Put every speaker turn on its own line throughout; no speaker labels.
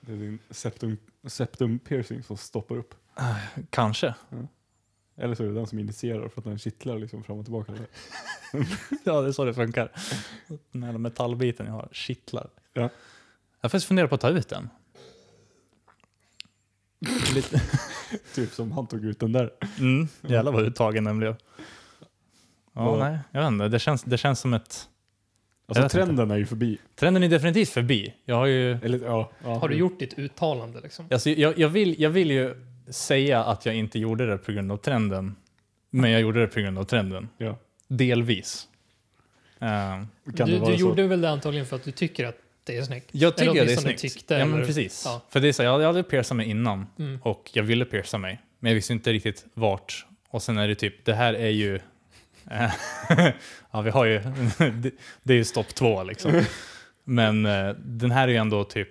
Det är din septum, septum piercing som stoppar upp.
Kanske.
Eller så är det den som initierar för att den kittlar liksom fram och tillbaka.
Ja, det är så det funkar. Den här metallbiten jag har kittlar.
Ja.
Jag har faktiskt funderat på att ta ut den. Lite.
typ som han tog ut den där. Alltså,
Mm, jävlar vad uttagen den blev. Ja,
Ja.
nej, jag vet inte. Det känns, det känns som ett...
Alltså
vet
trenden är ju förbi.
Trenden är definitivt förbi. Jag har ju...
Eller, ja, ja.
Har du gjort ditt uttalande liksom?
Alltså, jag, jag, vill, jag vill ju säga att jag inte gjorde det på grund av trenden, men jag gjorde det på grund av trenden.
Ja.
Delvis. Ehm,
Kan det
du
vara
du
så?
gjorde väl det antagligen för att du tycker att det är snyggt.
jag tycker det är
åtminstone
snyggt.
tyckte,
ja, men
eller-
precis.
Ja.
För det är så, här, jag hade- jag hade piercat mig innan
Mm.
och jag ville pierca mig, men jag visste inte riktigt vart. Och sen är det typ, det här är ju... eh, ja, vi har ju... det, det är ju stopp två liksom. Men eh, den här är ju ändå typ...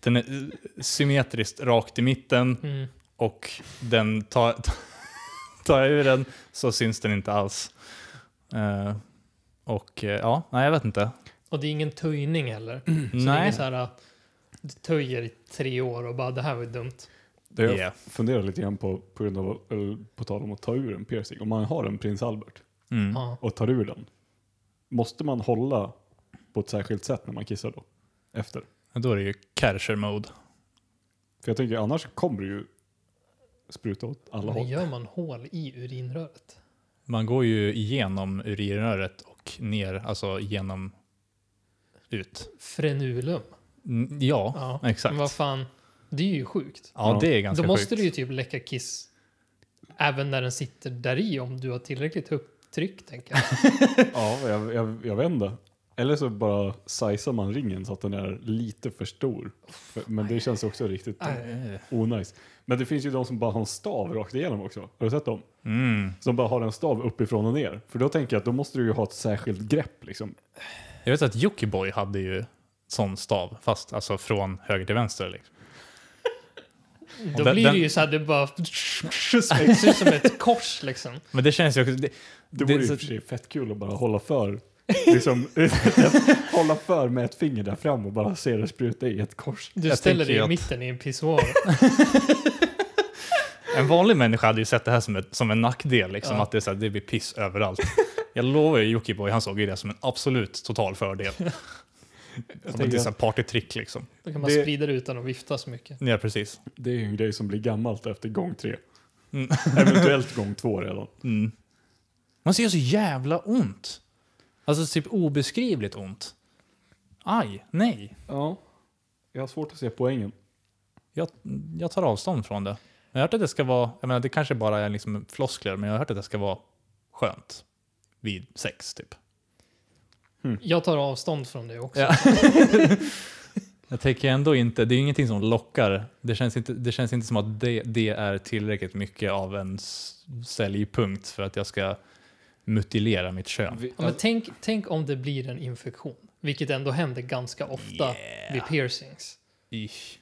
Den är eh, symmetriskt rakt i mitten.
Mm.
och den tar, tar jag ur den så syns den inte alls. Eh, och eh, ja, nej jag vet inte.
Och det är ingen töjning heller. Så det är
nej.
ingen så här, äh, du töjer i tre år och bara det här var ju dumt.
Det jag
Yeah.
funderar lite grann på, på, grund av, eller, på tal om att ta ur en piercing. Om man har en prins Albert
Mm.
Ja.
och tar ur den, måste man hålla på ett särskilt sätt när man kissar då? Efter?
Då är det ju catcher mode.
För jag tänker annars kommer det ju spruta åt alla
Men
håll.
gör man hål i urinröret?
Man går ju igenom urinröret och ner, alltså genom ut.
Frenulum?
N- Ja,
Ja.
exakt.
Men vad fan, det är ju sjukt.
Ja, det är ganska
Då måste
sjukt.
du ju typ läcka kiss även när den sitter där i om du har tillräckligt högt tryck tänker jag.
Ja, jag, jag, jag vet inte. Eller så bara sizar man ringen så att den är lite för stor. För- Men det känns också riktigt
Nej.
Eh,
onajs. Men det finns ju de som bara har en stav rakt igenom också. Har du sett dem?
Mm.
Som bara har en stav uppifrån och ner. För då tänker jag att då måste du ju ha ett särskilt grepp liksom.
Jag vet att Jockiboi hade ju sån stav, fast alltså från höger till vänster. Liksom.
Då
Den-
blir
den-
det ju så här, det bara ser ut som ett kors liksom.
Men det känns ju också... Det,
Det
det-
vore ju i
så-
och för sig fett kul att bara hålla för. Liksom, hålla för med ett finger där fram och bara se det spruta i ett kors.
Du
Jag
ställer
tänker
dig i
att-
mitten i en pissoar.
En vanlig människa hade ju sett det här som, ett, som en nackdel, liksom,
Ja.
att det, är så här, det blir piss överallt. Jag lovar ju Jockiboi, han såg ju det som en absolut total fördel. Som
tänker
ett
att-
så här partytrick liksom.
Då kan man
Det-
sprida det utan att vifta så mycket.
Ja, precis.
Det är ju en grej som blir gammalt efter gång tre.
Mm.
Eventuellt gång två redan.
Mm. Man ser så jävla ont. Alltså typ obeskrivligt ont. Aj, nej.
Ja. Jag har svårt att se poängen.
Jag, jag tar avstånd från det. Jag har hört att det ska vara, jag menar det kanske bara är liksom floskler, men jag har hört att det ska vara skönt. Vid sex typ.
Jag tar avstånd från det också.
Ja. jag tänker ändå inte, det är ju ingenting som lockar. Det känns inte, det känns inte som att det, det är tillräckligt mycket av en s- säljpunkt för att jag ska mutilera mitt kön.
Ja, men tänk, tänk om det blir en infektion, vilket ändå händer ganska ofta vid piercings.
Ish.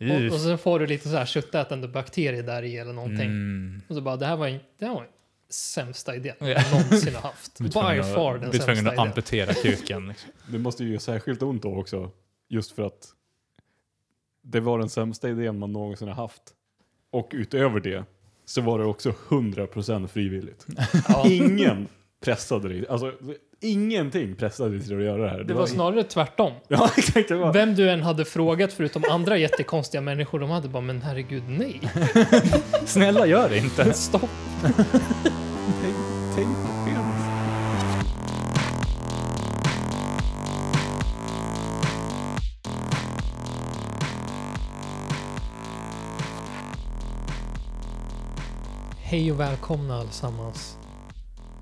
Och, och
Uff.
sen får du lite så här köttätande bakterier där i eller någonting.
Mm.
Och så bara, det här var, en- det här var den sämsta idén
Ja.
jag någonsin har haft. By
Blir tvungen att-
far
blir
den sämsta
tvungen att
idén.
amputera kuken. Liksom.
Det måste ju göra särskilt ont då också. Just för att det var den sämsta idén man någonsin har haft. Och utöver det så var det också 100% frivilligt.
Ja.
Ingen pressade dig. Alltså, ingenting pressade dig till att göra det här.
Det var snarare tvärtom.
Ja, exakt. Det var...
Vem du än hade frågat, förutom andra jättekonstiga människor, de hade bara “men herregud, nej,
Snälla gör det inte.
stopp”.
Tänk, tänk på penis.
Hej och välkomna allesammans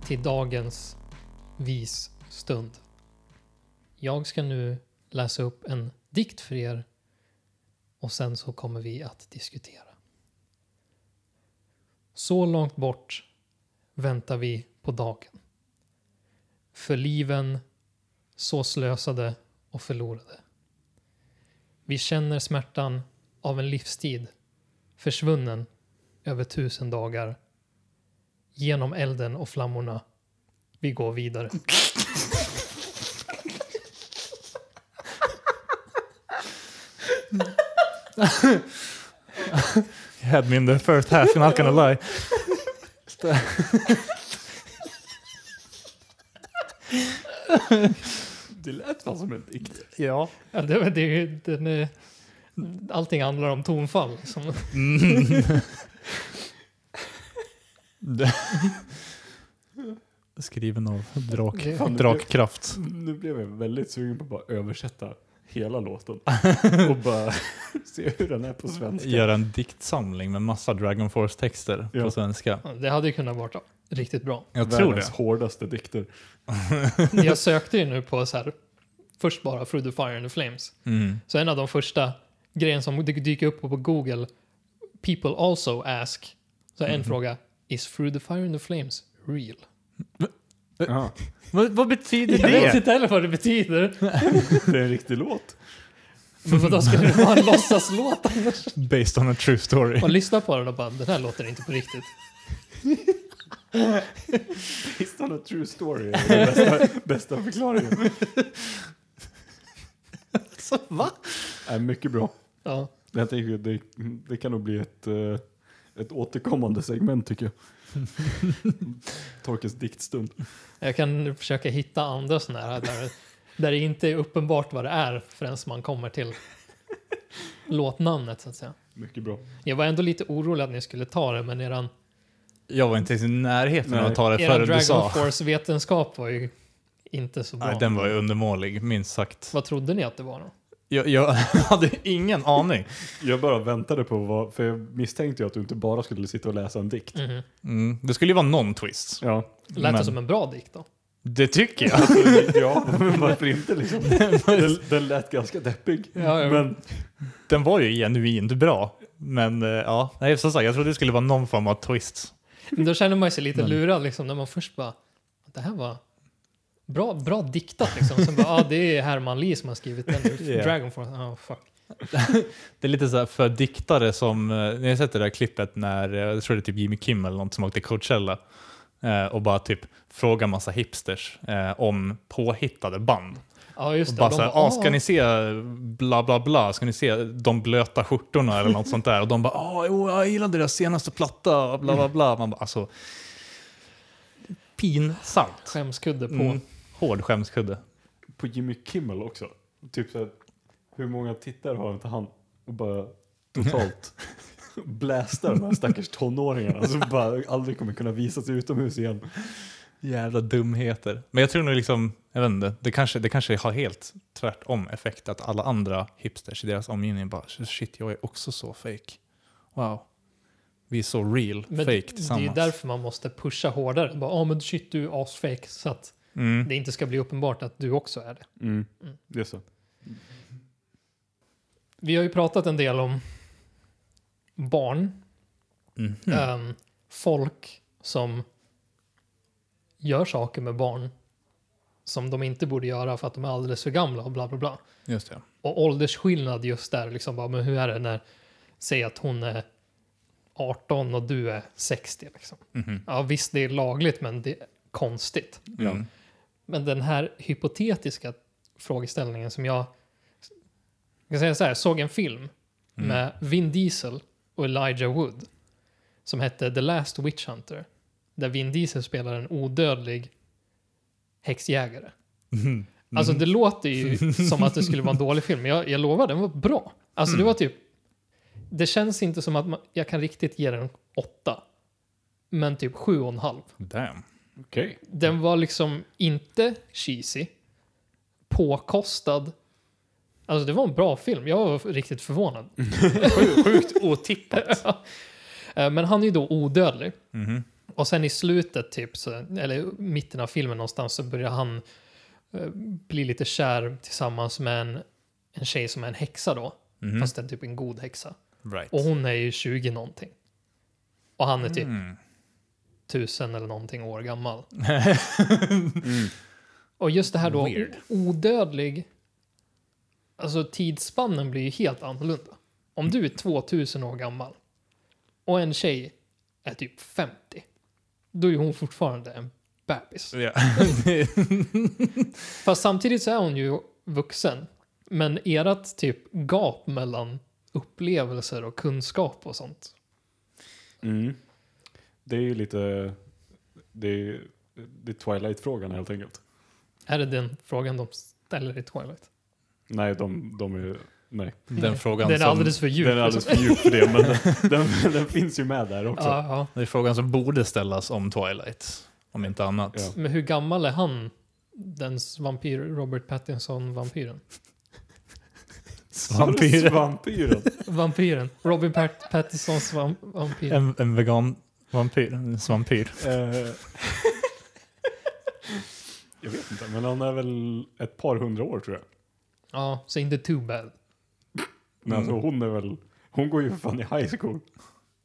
till dagens vis stund. Jag ska nu läsa upp en dikt för er och sen så kommer vi att diskutera. Så långt bort väntar vi på dagen. För liven så slösade och förlorade. Vi känner smärtan av en livstid försvunnen över tusen dagar. Genom elden och flammorna. Vi går vidare.
You had me in the first half, you're not gonna lie.
Det lät fan som en dikt.
Ja.
Ja, det, var- det, är ju- den, är- allting handlar om tonfall. Liksom.
Mm. Det- Skriven av drak,
Det-
Fan, det-
drakkraft.
Nu blev jag väldigt sugen på att bara översätta hela låten. Och bara se hur den är på svenska.
Göra en diktsamling med massa Dragon Force-texter
Ja.
på svenska.
Ja, Det hade ju kunnat vara riktigt bra.
Jag tror
Världens
det.
hårdaste dikter.
Jag sökte ju nu på så här, först bara Through the Fire and the Flames.
Mm.
Så en av de första grejerna som dy- dyker upp på Google, people also ask, så en
Mhm.
fråga, is Through the Fire and the Flames real?
Ja,
Vad, vad betyder
Jag vet
det?
inte heller vad det betyder.
det är en riktig låt.
Men vadå, skulle det vara en låtsaslåt annars?
Based on a true story.
Man lyssnar på den och bara, den här låter inte på riktigt.
Based on a true story är den bästa, bästa förklaringen.
Så va?
Är mycket bra.
Ja,
Jag tänker, det, det kan nog bli ett, eh, ett återkommande segment tycker jag. Torkes diktstund.
jag kan försöka hitta andra sådana här där, där det inte är uppenbart vad det är förrän man kommer till låtnamnet så att säga.
Mycket bra.
Jag var ändå lite orolig att ni skulle ta det, men eran,
Jag var inte ens i närheten av
Nej.
att ta det
eran
förrän du
Dragon
sa.
Force-vetenskap var ju inte så bra.
Nej, den var ju undermålig, minst sagt.
Vad trodde ni att det var då?
Jag, jag hade ingen aning.
Jag bara väntade på vad, för jag misstänkte ju att du inte bara skulle sitta och läsa en dikt.
Mhm.
Mm. Det skulle ju vara någon twist.
Ja,
Lät
Men-
det som en bra dikt då?
Det tycker jag.
ja men varför inte liksom? Den, den lät ganska deppig.
Ja, ja.
Men
Den var ju genuint bra. Men eh, ja, nej, som sagt, jag trodde det skulle vara någon form av twist.
Men Då känner man sig lite
Men-
lurad liksom, när man först bara, det här var bra, bra diktat liksom. Sen bara, ah, det är Herman Lee som har skrivit den.
Ja.
Dragon Force, oh, fuck.
Det är lite så här för diktare som, eh, ni har sett det där klippet när, eh, jag tror det är typ Jimmy Kimmel eller något som åkte till Coachella eh, och bara typ frågar massa hipsters eh, om påhittade band.
Ja,
Och
just det.
bara
De
så här,
bara,
ah, ska
"Ah."
ni se bla bla bla, ska ni se de blöta skjortorna eller något sånt där? Och de bara, ah, jo, jag gillade deras senaste platta, och bla bla bla. Man bara, alltså, pinsamt.
Skämskudde på.
Mm. Hård skämskudde.
på Jimmy Kimmel också. Typ så här, hur många tittare har inte han? Och bara totalt blästar de här stackars tonåringarna som bara aldrig kommer kunna visa sig utomhus igen.
Jävla dumheter. Men jag tror nog liksom, jag vet inte, det kanske, det kanske har helt tvärtom effekt att alla andra hipsters i deras omgivning bara shit, jag är också så fake. Wow. Vi är så real,
Men
fake
det är ju
tillsammans.
därför man måste pusha hårdare. Bara, ah, men shit, du är asfake. Så att
mm.
det inte ska bli uppenbart att du också är det.
Mm.
Mm.
Det är så.
Vi har ju pratat en del om barn
Mhm.
Ehm, folk som gör saker med barn som de inte borde göra för att de är alldeles för gamla och bla bla bla.
Just det.
Och åldersskillnad just där, liksom bara, men hur är det när, säg att hon är 18 och du är 60 liksom.
Mhm.
Ja visst, det är lagligt men det är konstigt.
Mm.
Men den här hypotetiska frågeställningen som jag... Jag ska säga så här, jag såg en film
Mm.
med Vin Diesel och Elijah Wood som hette The Last Witch Hunter. Där Vin Diesel spelar en odödlig häxjägare.
Mhm.
Alltså det låter ju som att det skulle vara en dålig film, men jag, jag lovar, den var bra. Alltså det var typ... Det känns inte som att man, jag kan riktigt ge den åtta. Men typ sju och en halv.
Damn.
Okej.
Den var liksom inte cheesy, påkostad. Alltså det var en bra film. Jag var riktigt förvånad.
Sjukt otippat.
Eh, Men han är ju då odödlig.
Mhm.
Och sen i slutet, typ, så, eller mitten av filmen någonstans, så börjar han eh, bli lite kär tillsammans med en, en tjej som är en häxa då.
Mhm.
Fast en typ en god häxa.
Right.
Och hon är ju 20 någonting. Och han är typ
Mm.
tusen eller någonting år gammal. Och just det här då,
Weird.
odödlig, alltså tidsspannen blir ju helt annorlunda. Om du är 2000 år gammal och en tjej är typ 50, då är hon fortfarande en bebis.
Ja.
Fast samtidigt så är hon ju vuxen Men erat typ gap mellan upplevelser och kunskap och sånt.
Mm. Det är ju lite... Det är, det är Twilight-frågan helt enkelt.
Är det den frågan de ställer i Twilight?
Nej, de, de är... Nej,
Den frågan,
den är
som,
alldeles för djup. liksom.
den är alldeles för djup för det, men den, den, den finns ju med där också.
ja, ja.
det är frågan som borde ställas om Twilight, om inte annat.
Ja.
Men hur gammal är han? Den vampyr, Robert Pattinson-vampyren.
Vampyren.
Vampyren.
Vampyren. Robin Pat- Pattinsons vam- vampyr.
En, en vegan vampyr, en svampyr.
Eh, jag vet inte, men han är väl ett par hundra år tror jag.
Ja, så inte too bad.
Men alltså, hon är väl... Hon går ju för fan i high school.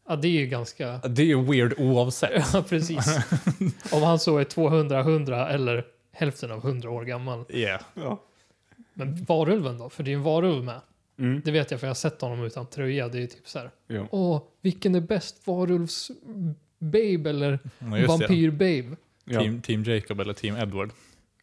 Ja, det är ju ganska...
Det är ju weird oavsett.
Ja, precis. Om han så är 200-100 eller hälften av 100 år gammal.
Yeah.
Ja.
Men varulven då? För det är ju en varulv med.
Mm.
Det vet jag för jag har sett honom utan tröja. Det är ju typ så här.
Ja.
Åh, vilken är bäst? Varulvs-babe eller
Ja, just det.
vampyr-babe?
Ja.
Team, team Jacob eller Team Edward.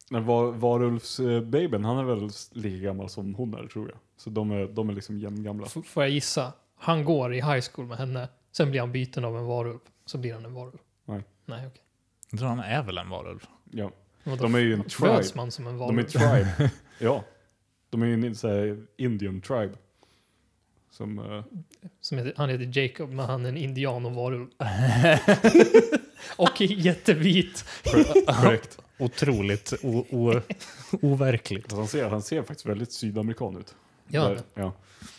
Men var, Varulvsbaben, han är väl lika gammal som hon är tror jag. Så de är, de är liksom jämngamla.
F- får jag gissa? Han går i high school med henne. Sen blir han biten av en varulv. Så blir han en varulv.
Nej.
Nej, okej.
Jag tror han är väl en varulv.
Ja.
Vadå?
De är ju en tribe.
Föds man som en
De är
varulv?
tribe. ja. De är ju en så här, indian tribe. Som, eh,
Som heter, han heter Jacob, men han är en indian och varulv. och jättevit.
korrekt.
Otroligt o, o, overkligt.
Fast han, ser, han ser faktiskt väldigt sydamerikan ut.
Ja,
Där- ja.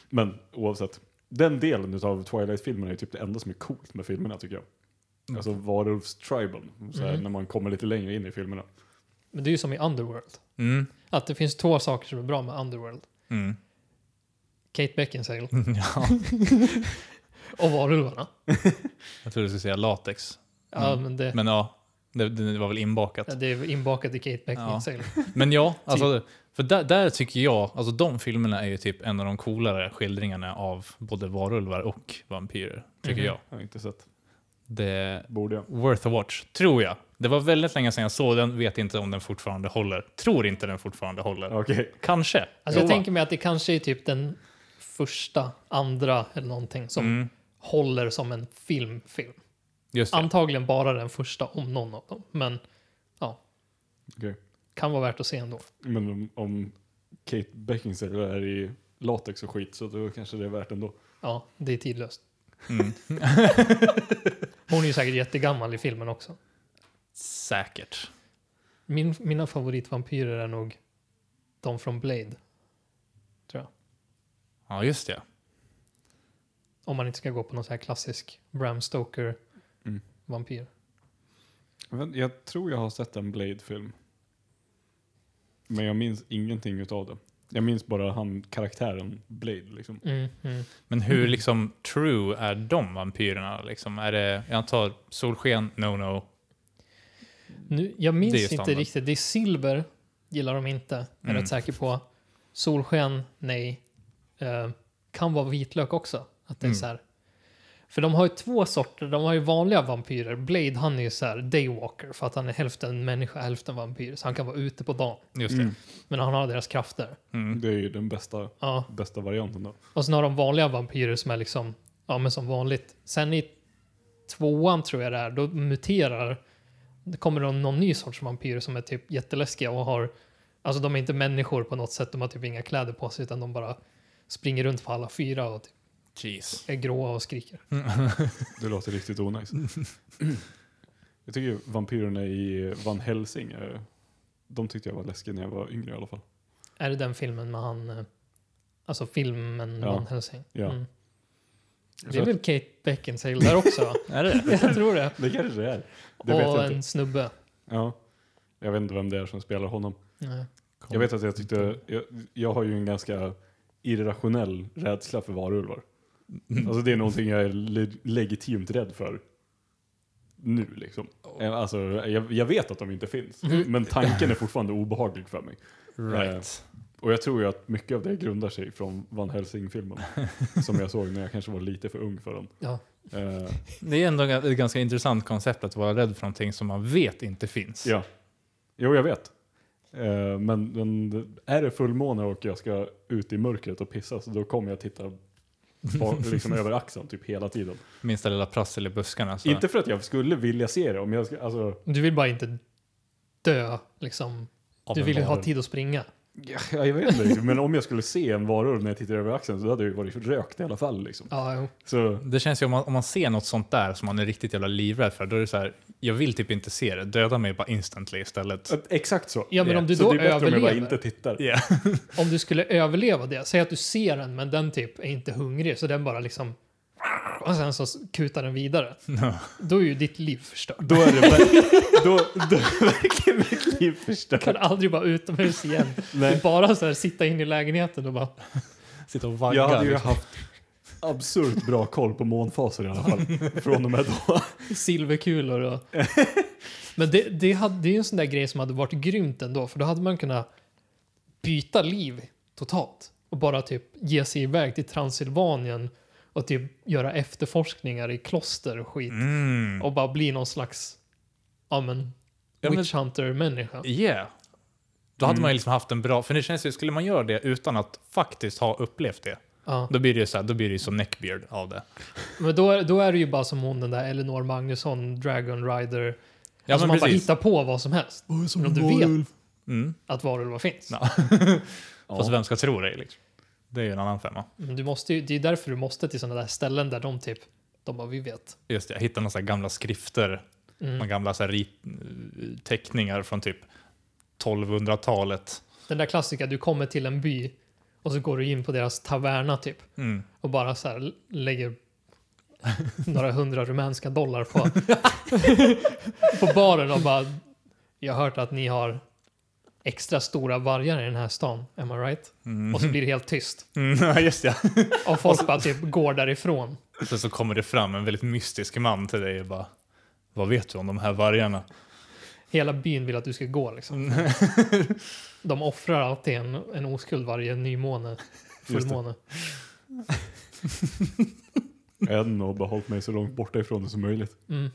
Men oavsett. Den delen av Twilight-filmerna är typ det enda som är coolt med filmerna tycker jag. Alltså varulvstriben. Så här,
Mhm.
När man kommer lite längre in i filmerna.
men det är ju som i Underworld.
Mm.
Att det finns två saker som är bra med Underworld.
Mm.
Kate Beckinsale
Ja,
och varulvarna.
jag trodde du skulle säga latex.
Ja,
Mm.
men det,
Men ja, det, det var väl inbakat.
ja, Typ. det är inbakat i Kate Beckinsale.
Men ja, alltså, för där, där tycker jag, alltså de filmerna är ju typ en av de coolare skildringarna av både varulvar och vampyrer, tycker
Mhm.
jag.
Jag har inte sett.
Det
Borde jag.
Worth a watch, tror jag. Det var väldigt länge sedan jag såg den, vet inte om den fortfarande håller. Tror inte den fortfarande håller.
Okej.
Kanske.
Alltså, jag
Jo.
tänker mig att det kanske är typ den första, andra eller någonting som
Mm,
håller som en filmfilm.
just det.
Antagligen bara den första om någon av dem, men
Okej.
kan vara värt att se ändå.
Men om, om Kate Beckinsale är i latex och skit så då kanske det är värt ändå.
Ja, det är tidlöst.
Mm.
Hon är ju säkert jättegammal i filmen också.
Säkert.
Min, mina favoritvampyrer är nog de från Blade.
Ja, just det.
Om man inte ska gå på någon sån här klassisk Bram
Mm.
Stoker-vampyr.
Men Jag tror jag har sett en Blade-film. Men jag minns ingenting utav det. Jag minns bara han karaktären Blade liksom.
Mm, mm.
Men hur liksom true är de vampyrerna? Liksom, är det, jag antar solsken, no no.
Nu, jag
Det är ju
minns inte
standard.
riktigt. Det är silver, gillar de inte. Är
Mm.
rätt säker på. Solsken, nej. Eh, kan vara vitlök också. Att det är
Mm.
så här. För de har ju två sorter. De har ju vanliga vampyrer. Blade, han är ju så här daywalker för att han är hälften människa, hälften vampyr. Så han kan vara ute på dagen.
Just det.
Mm.
Men han har deras krafter.
Mm.
Det är ju den bästa,
Ja.
bästa varianten då.
Och sen har de vanliga vampyrer som är liksom, ja men som vanligt. Sen i tvåan tror jag det är, då muterar, det kommer det någon ny sorts vampyrer som är typ jätteläskiga och har, alltså de är inte människor på något sätt, de har typ inga kläder på sig utan de bara springer runt på alla fyra och typ
Jeez.
är gråa och skriker.
Det låter riktigt onajs. jag tycker ju vampyrerna i Van Helsing, eh, de tyckte jag var läskiga när jag var yngre i alla fall.
Är det den filmen med han, eh, alltså filmen
Ja.
Van Helsing?
Ja.
Mm. Det
Så
är väl Kate Beckinsale där också? va?
Är det det?
jag tror det.
det kanske det är. Det vet
och
jag
en
inte.
snubbe.
Ja. Jag vet inte vem det är som spelar honom.
Nej.
Jag vet att jag tyckte, jag, jag har ju en ganska irrationell rädsla för varulvar. Alltså det är någonting jag är le- legitimt rädd för nu liksom. Eh, Alltså jag, jag vet att de inte finns,
Mm.
men tanken är fortfarande obehaglig för mig.
Right.
Och jag tror ju att mycket av det grundar sig från Van Helsing-filmen som jag såg när jag kanske var lite för ung för den.
Ja.
Eh,
Det är ändå ett ganska intressant koncept att vara rädd för någonting som man vet inte finns.
ja. Jo, jag vet. Eh, men den, är det fullmåne och jag ska ut i mörkret och pissa så då kommer jag titta bak, liksom över axeln typ hela tiden.
Minsta lilla prassel i buskarna. Så.
Inte för att jag skulle vilja se det om jag ska, alltså,
Du vill bara inte dö liksom.
av
Du
en
vill ju ha
varulv.
tid att springa.
ja, jag vet inte liksom. men om jag skulle se en varulv när jag tittar över axeln så hade jag ju varit rökt i alla fall liksom.
Ja, jo.
Så
Det känns ju om man, om man ser något sånt där som man är riktigt jävla livrädd för, då är det så här, jag vill typ inte se det, döda mig bara instantly istället.
att- exakt så.
ja men
Ja,
om du
så
då
det är bättre om jag
överlever.
bara inte tittar.
Yeah.
Om du skulle överleva det, säg att du ser den men den typ är inte hungrig så den bara liksom och sen så kutar den vidare. Då är ju ditt liv förstört.
Då är det ver- då, då är verkligen mitt liv förstört.
Du kan aldrig vara utomhus igen.
Nej.
Det är bara så här sitta in i lägenheten och bara
Sitta och vagga.
Jag hade ju
liksom.
haft absurt bra koll på månfaser i alla fall från och med då.
silverkulor och... Men det, det, hade, det är ju en sån där grej som hade varit grymt ändå för då hade man kunnat byta liv totalt och bara typ ge sig iväg till Transylvanien och typ göra efterforskningar i kloster och skit.
Mm.
och bara bli någon slags ja, men,
Ja, men-
witch hunter-människa.
Yeah. Då hade
Mm.
man ju liksom haft en bra, för det känns ju, skulle man göra det utan att faktiskt ha upplevt det,
Ja.
då blir det ju så här, då blir det ju som neckbeard av det.
Men då är, då är det ju bara som hon den där Eleanor Magnusson, Dragon Rider.
Ja,
alltså
men
man bara
precis.
hittar på vad som helst. Men om du vet
Mm.
att varulvar finns.
Ja. Fast vem ska tro dig liksom? Det är ju en annan femma.
Men Du måste ju, det är därför du måste till sådana där ställen där de typ, de bara vi vet.
Just det, jag hittade några så här gamla skrifter,
Mm.
några gamla så här rit, teckningar från typ 1200-talet.
Den där klassiska, du kommer till en by och så går du in på deras taverna typ
Mm.
och bara så här lägger några hundra rumänska dollar på, på baren och bara jag har hört att ni har extra stora vargar i den här stan, am I right?
Mm.
Och så blir det helt tyst
Mm, ja, just det.
och folk bara typ går därifrån.
Sen så kommer det fram en väldigt mystisk man till dig och bara Vad vet du om de här vargarna?
Hela byn vill att du ska gå liksom.
Mm.
De offrar alltid en, en oskuld varje nymåne, fullmåne.
Än och behållit mig så långt borta ifrån det som möjligt.
Mm.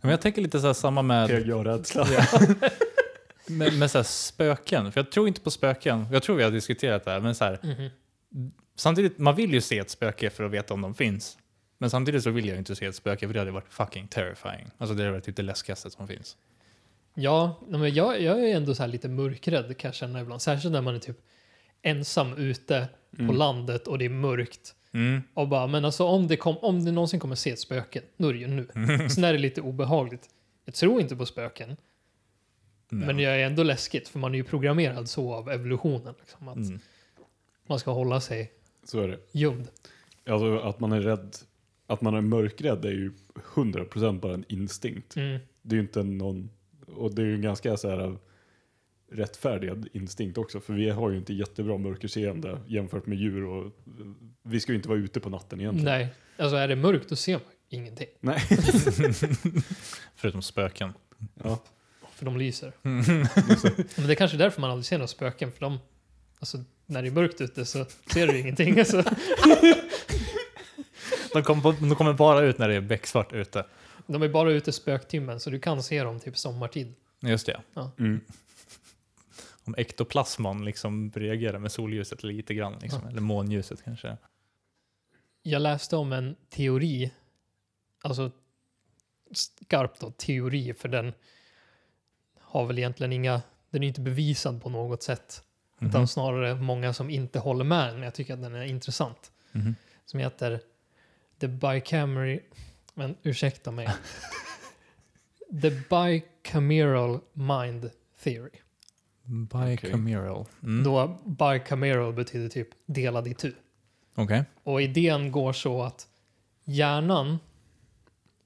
Men jag tänker lite så här samma med,
Peg och rädsla.
med, med så här spöken. För jag tror inte på spöken. Jag tror vi har diskuterat det här. Men så här,
Mhm.
samtidigt, man vill ju se ett spöke för att veta om de finns. Men samtidigt så vill jag inte se ett spöke för det hade varit fucking terrifying. Alltså det hade varit typ det läskigaste som finns.
Ja, nej, men jag, jag är ändå så här lite mörkrädd kan jag känna ibland. Särskilt när man är typ ensam ute på
Mm.
landet och det är mörkt.
Mm.
Och bara, men alltså om det, kom, om det någonsin kommer se ett spöke, då är det ju nu. Sen är det lite obehagligt. Jag tror inte på spöken,
Nej.
men jag är ändå läskigt för man är ju programmerad så av evolutionen. Liksom, att
Mm.
man ska hålla sig
Så är det.
gömd.
Alltså att man är rädd, att man är mörkrädd är ju 100% bara en instinkt.
Mm.
Det är ju inte någon, och det är ju en ganska så här eh, rättfärdigad instinkt också. För vi har ju inte jättebra mörkerseende jämfört med djur och eh, vi ska ju inte vara ute på natten egentligen.
Nej, alltså är det mörkt då ser man ingenting,
Nej.
Förutom spöken.
Ja.
för de lyser. men det är kanske är därför man aldrig ser några spöken, för de, alltså när det är mörkt ute så ser du ingenting. Alltså.
De kommer, de kommer bara ut när det är becksvart ute.
De är bara ute spöktimmen så du kan se dem typ sommartid.
Just det.
Mm.
om ektoplasman liksom reagerar med solljuset lite grann, liksom,
Ah.
eller månljuset kanske.
Jag läste om en teori, alltså skarpt då, teori, för den har väl egentligen inga, den är inte bevisad på något sätt,
Mhm.
utan snarare många som inte håller med den, men jag tycker att den är intressant,
Mhm.
som heter The Bicameral, men ursäkta mig, The Bicameral Mind Theory.
Bicameral. Mm.
Då bicameral betyder typ delad i tu.
Okej.
Och idén går så att hjärnan,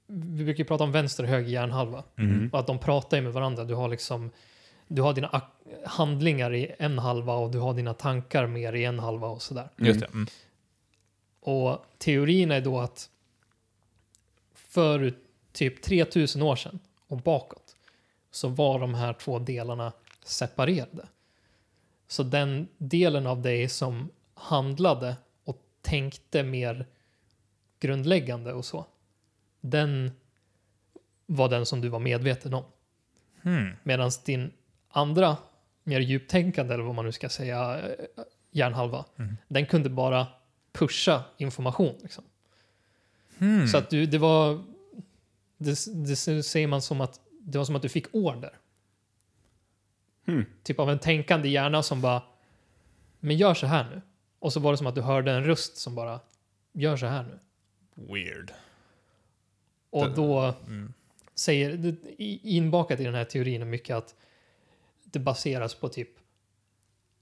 vi brukar ju prata om vänster och höger hjärnhalva,
Mm.
och att de pratar ju med varandra. Du har liksom, du har dina ak- handlingar i en halva och du har dina tankar mer i en halva och sådär.
Just det. Mm.
Och teorin är då att för typ 3000 år sedan och bakåt så var de här två delarna separerade. Så den delen av dig som handlade och tänkte mer grundläggande och så, den var den som du var medveten om.
Hmm.
Medan din andra mer djuptänkande eller vad man nu ska säga, eh, hjärnhalva,
Mm.
den kunde bara pusha information. Liksom.
Hmm.
Så att du, det var, det, det säger man som att det var som att du fick order.
Hmm.
Typ av en tänkande hjärna som bara, men gör så här nu. Och så var det som att du hörde en röst som bara, gör så här nu.
Weird.
Och
Det-
då
Mm.
säger, det- i- inbakat i den här teorin är mycket att det baseras på typ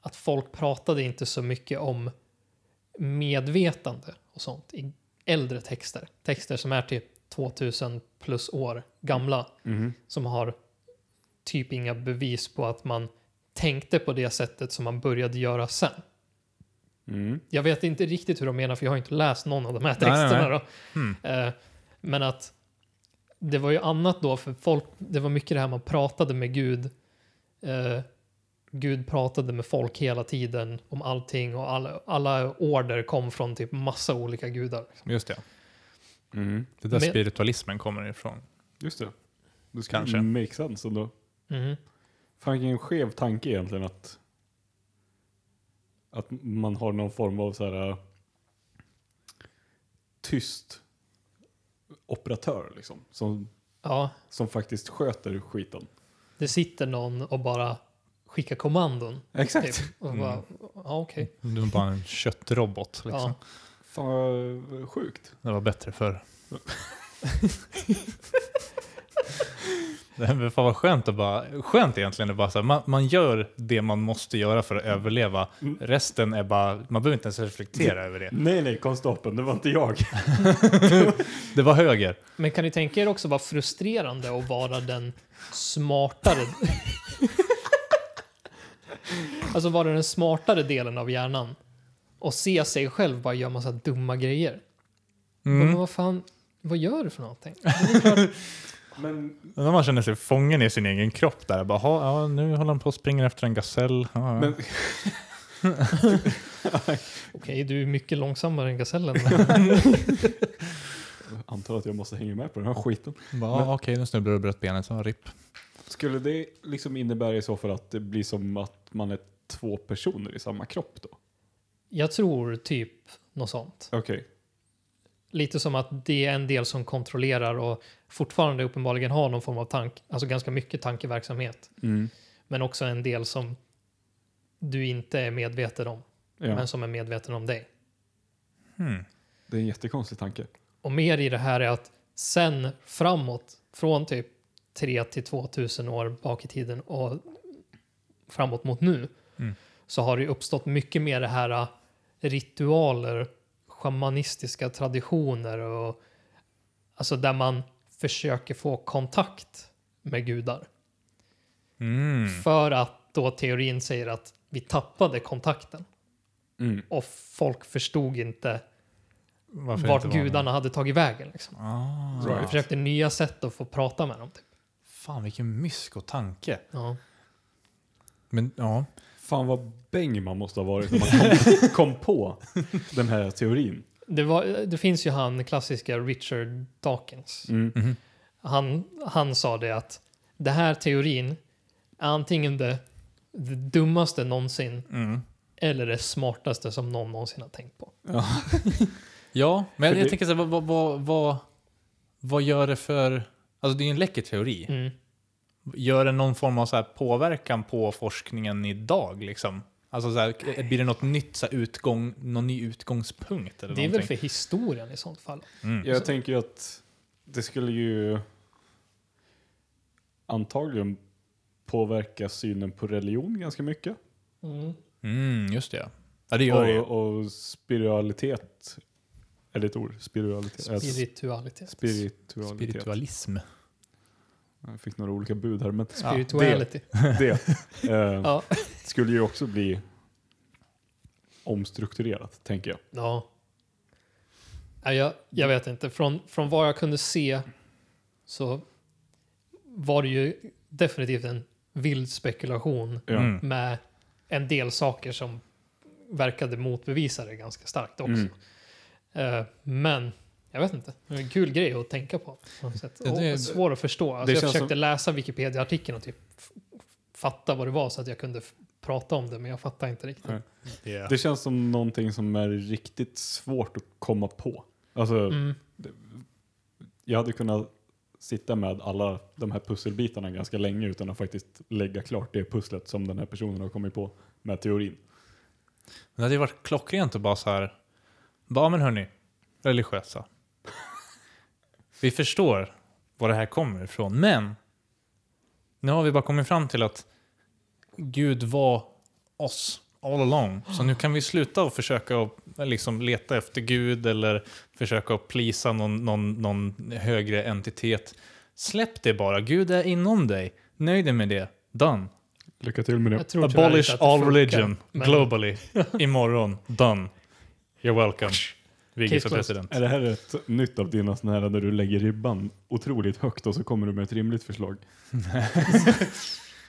att folk pratade inte så mycket om medvetande och sånt i äldre texter. Texter som är typ 2000 plus år gamla
Mhm.
som har typ inga bevis på att man tänkte på det sättet som man började göra sen.
Mm.
Jag vet inte riktigt hur de menar för jag har inte läst någon av de här
Nej, nej,
texterna. Då.
Hmm.
Eh, Men att det var ju annat då, för folk, det var mycket det här man pratade med Gud. Eh, Gud pratade med folk hela tiden om allting och alla, alla order kom från typ massa olika gudar.
Just det.
Mm.
Det där
Men-
spiritualismen kommer ifrån.
Just det. Det skulle
Kanske.
make Mm, sense ändå.
Mhm.
Fan vilken skev tanke egentligen att att man har någon form av så här äh, tyst operatör liksom som,
Ja,
som faktiskt sköter skiten.
det sitter någon och bara skickar kommandon.
Exakt.
Typ, och bara,
Mm.
ja okej.
Det var bara en köttrobot. Liksom.
Ja.
Fan vad sjukt.
Det var bättre förr. det här, fan vad skönt att bara, skönt egentligen att bara så här, man, man gör det man måste göra för att överleva.
Mm.
Resten är bara, man behöver inte ens reflektera över det.
Nej nej konstapeln, det var inte jag.
Det var höger.
Men kan ni tänka er också vara frustrerande att vara den smartare... alltså vara den smartare delen av hjärnan och se sig själv bara göra massa dumma grejer. Men
Mm.
vad fan, vad gör du för någonting?
Men
När man känner sig fången i sin egen kropp där. Bara, "Ha, ja, nu håller han på att springa efter en gasell. Ja, ja.
Men-
Okej, du är mycket långsammare än gasellen.
jag antar att jag måste hänga med på den här skiten.
Bara, "Ja, Okej, nu snubblar du och bröt benet. Ja, ripp.
Skulle det liksom innebära i så fall att det blir som att man är två personer i samma kropp då?
Jag tror typ något sånt.
Okej.
Lite som att det är en del som kontrollerar och fortfarande uppenbarligen har någon form av tank, alltså ganska mycket tankeverksamhet.
Mm.
Men också en del som du inte är medveten om.
Ja.
men som är medveten om dig.
Hmm.
Det är en jättekonstig tanke.
Och mer i det här är att sen framåt, från typ 3 till 2000 år bak i tiden och framåt mot nu,
Mm.
så har det uppstått mycket mer det här äh, ritualer, shamanistiska traditioner och alltså där man försöker få kontakt med gudar.
Mm.
För att då teorin säger att vi tappade kontakten
Mm.
och folk förstod inte
Varför
vart
inte vara med?
gudarna hade tagit vägen. Liksom.
Ah.
Så vi
Right.
försökte nya sätt att få prata med dem. Typ.
Fan vilken mysko tanke.
Ja.
Men ja,
Fan vad bäng man måste ha varit när man kom, kom på den här teorin.
Det, var, det finns ju han klassiska Richard Dawkins.
Mm. Mhm.
Han, han sa det att det här teorin är antingen det, det dummaste någonsin
Mm.
eller det smartaste som någon någonsin har tänkt på.
Ja, men
För
jag
det-
tänker så här, vad, vad, vad, vad, vad gör det för... Alltså det är ju en läcker teori.
Mm.
Gör det någon form av så här påverkan på forskningen idag liksom? Alltså så här, blir det något nytt så här, utgång, någon ny utgångspunkt eller
Det är väl
någonting?
för historien i sånt fall.
Mm.
Jag tänker ju att det skulle ju antagligen påverka synen på religion ganska mycket.
Mm.
Mm, just det. Ja, det gör det ju.
Och, och spiritualitet. Är det ett ord? Spiritualitet.
Alltså,
Spirit.
Spiritualitet.
Spiritualitet.
Spiritualism.
Jag fick några olika bud här, men
Ja,
Spirituality.
det eh,
Ja.
skulle ju också bli omstrukturerat, tänker jag.
Ja. Nej, Jag, jag vet inte. Från, från vad jag kunde se så var det ju definitivt en vild spekulation
Ja.
Mm.
med en del saker som verkade motbevisa det ganska starkt också.
Mm.
Eh, men jag vet inte. Det är en kul grej att tänka på. på något sätt.
Ja,
Och
det-
svår att förstå. Alltså,
det
jag
känns
försökte läsa Wikipedia-artikeln och typ f- fatta vad det var så att jag kunde f- prata om det, men jag fattar inte riktigt.
Nej. Det känns som någonting som är riktigt svårt att komma på. Alltså,
Mm.
jag hade kunnat sitta med alla de här pusselbitarna ganska länge utan att faktiskt lägga klart det pusslet som den här personen har kommit på med teorin.
Men det hade ju varit klockrent att bara så här, bara men hörni, religiösa. vi förstår var det här kommer ifrån, men nu har vi bara kommit fram till att Gud var oss all along. Så nu kan vi sluta att försöka att liksom leta efter Gud eller försöka att plisa någon, någon, någon högre entitet. Släpp det bara, Gud är inom dig. Nöj dig med det. Done.
Lycka till med
Jag tror tyvärr inte
Abolish
att det
all
funkar,
religion
men-
globally. Imorgon. Done. You're welcome. Vigge för
Case closed.
president.
Är det här ett nytt av dina sådana här där du lägger ribban otroligt högt och så kommer du med ett rimligt förslag?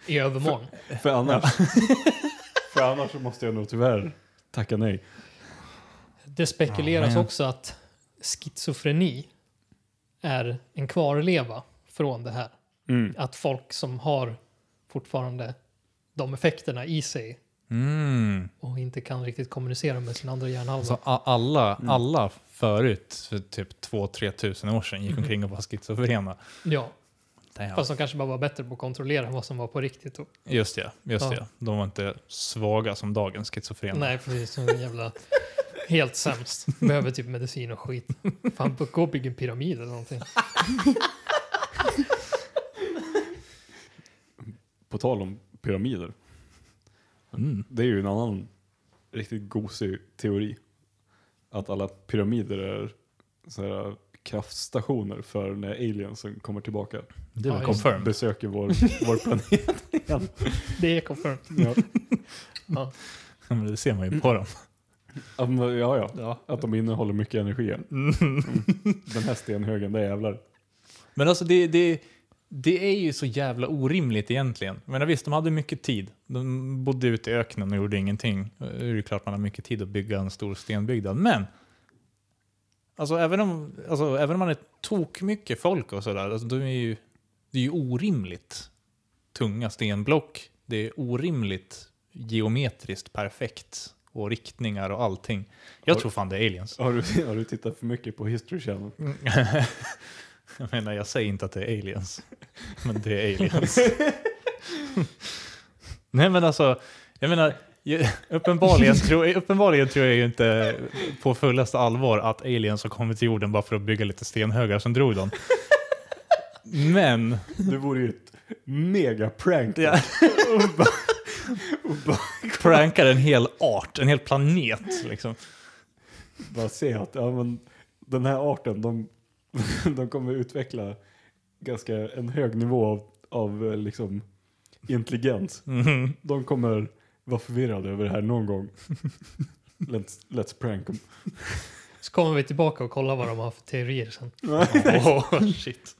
I övermorgon.
För annars, för annars så måste jag nog tyvärr tacka nej.
Det spekuleras
Ja, men-
också att schizofreni är en kvarleva från det här.
Mm.
Att folk som har fortfarande de effekterna i sig
Mm.
och inte kan riktigt kommunicera med sin andra hjärnhalva.
Så a- alla,
Mm.
alla förut, för typ 2-3 tusen år sedan,
Mm.
gick omkring och var schizofrena.
Ja,
Damn.
fast de kanske bara var bättre på att kontrollera vad som var på riktigt. Och,
Just det, just
Ja.
det. De var inte svaga som dagens schizofrena.
nej, precis som en jävla... Helt sämst. Behöver typ medicin och skit. Fan, gå och bygga en pyramid eller någonting.
På tal om pyramider,
Mm.
det är ju en annan riktigt gosig teori. Att alla pyramider är så här kraftstationer för när aliensen kommer tillbaka.
Det
Ja,
var
just
confirmed.
Besöker vår, vår planet.
Det är confirmed.
Ja.
Ja, men Det ser man ju på
Mm.
dem.
Ja, men, ja, ja, att de innehåller mycket energi.
Mm.
Den här stenhögen, det är jävlar.
Men alltså det, det, det är ju så jävla orimligt egentligen. Men visst, de hade mycket tid. De bodde ute i öknen och gjorde ingenting. Eh, Det är ju klart man har mycket tid att bygga en stor stenbyggnad. Men alltså även om, alltså, även om man är tok mycket folk och sådär, alltså, de är ju, det är ju orimligt tunga stenblock. Det är orimligt geometriskt perfekt och riktningar och allting. Jag
Har-
tror fan det är aliens.
Har du, har du tittat för mycket på History Channel?
Mm. jag menar, jag säger inte att det är aliens. Men det är aliens. Nej men alltså, jag menar, jag, uppenbarligen, tror, uppenbarligen tror jag ju inte på fullaste allvar att aliens har kommit till jorden bara för att bygga lite stenhögar, sen drog de. Men,
Det vore ju ett mega prank.
Ja. prankar en hel art, en hel planet liksom.
Bara se att ja, men, den här arten, de, de kommer utveckla ganska en hög nivå av, av eh, liksom, intelligens.
Mhm.
De kommer vara förvirrade över det här någon gång. Let's, let's prank them.
Så kommer vi tillbaka och kollar vad de har för teorier sen.
Åh, shit.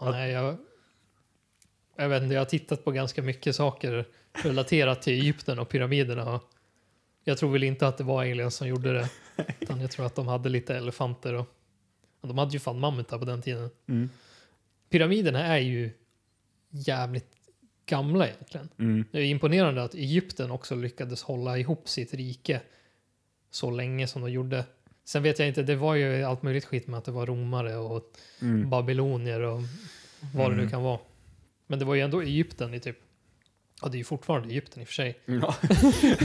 Ja, nej, jag, jag vet inte, jag har tittat på ganska mycket saker relaterat till Egypten och pyramiderna. och Jag tror väl inte att det var aliens som gjorde det. Utan jag tror att de hade lite elefanter och, och de hade ju fan mammutar på den tiden.
Mm.
Pyramiderna är ju jävligt gamla egentligen.
Mm.
Det är imponerande att Egypten också lyckades hålla ihop sitt rike så länge som de gjorde. Sen vet jag inte, det var ju allt möjligt skit med att det var romare och
Mm.
babylonier och vad det nu
Mm.
kan vara. Men det var ju ändå Egypten i typ, ja det är ju fortfarande Egypten i och för sig.
Ja.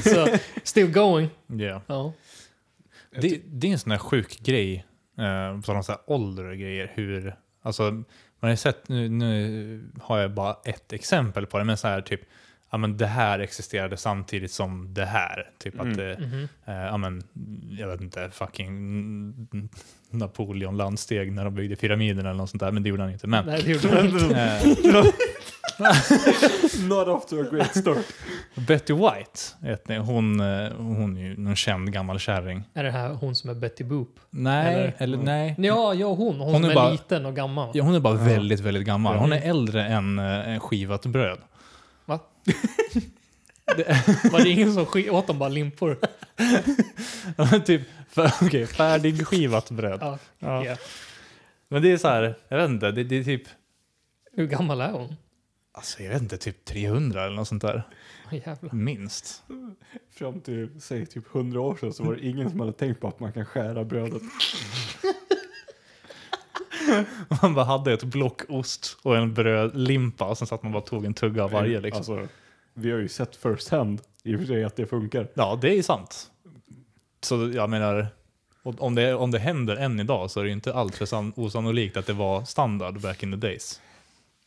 Så still going.
Ja.
Ja.
Det, det är en sån här sjuk grej, eh, sådana så här ålder och grejer, hur, alltså, man har ju sett, nu, nu har jag bara ett exempel på det, men så här typ, ja men det här existerade samtidigt som det här, typ att
Mm.
det,
Mhm.
eh, ja men, jag vet inte, fucking Napoleon landsteg när de byggde pyramiderna eller något sånt där, men det gjorde han inte. Men,
Nej, det gjorde de inte.
eh,
Not after a great start.
Betty White, vet ni, hon, eh, hon är ju någon känd gammal kärring.
Är det här hon som är Betty Boop?
Nej,
Eller-
eller, nej.
Ja, ja hon. Hon,
Hon
som
är
är
bara-
liten och gammal.
Ja, hon är bara
Ja.
väldigt, väldigt gammal.
Ja.
Hon är äldre än eh, en skivat bröd.
Va?
Det-
Var det ingen som sk- åt dem bara limpor?
typ, för, okay, färdig skivat bröd.
Ja.
Ja.
ja.
Men det är så här, jag vet inte, det, det är typ,
Hur gammal är hon?
Alltså jag vet inte, typ 300 eller något sånt där.
Åh, jävlar.
Minst.
Fram till, säg typ 100 år sedan så var det ingen som hade tänkt på att man kan skära brödet.
Man bara hade ett block ost och en brödlimpa och sen satt man bara och tog en tugga av varje. Liksom.
Alltså, vi har ju sett first hand i och för sig att det funkar.
Ja, det är ju sant. Så jag menar, och om det, om det händer än idag så är det ju inte alltför san- osannolikt att det var standard back in the days.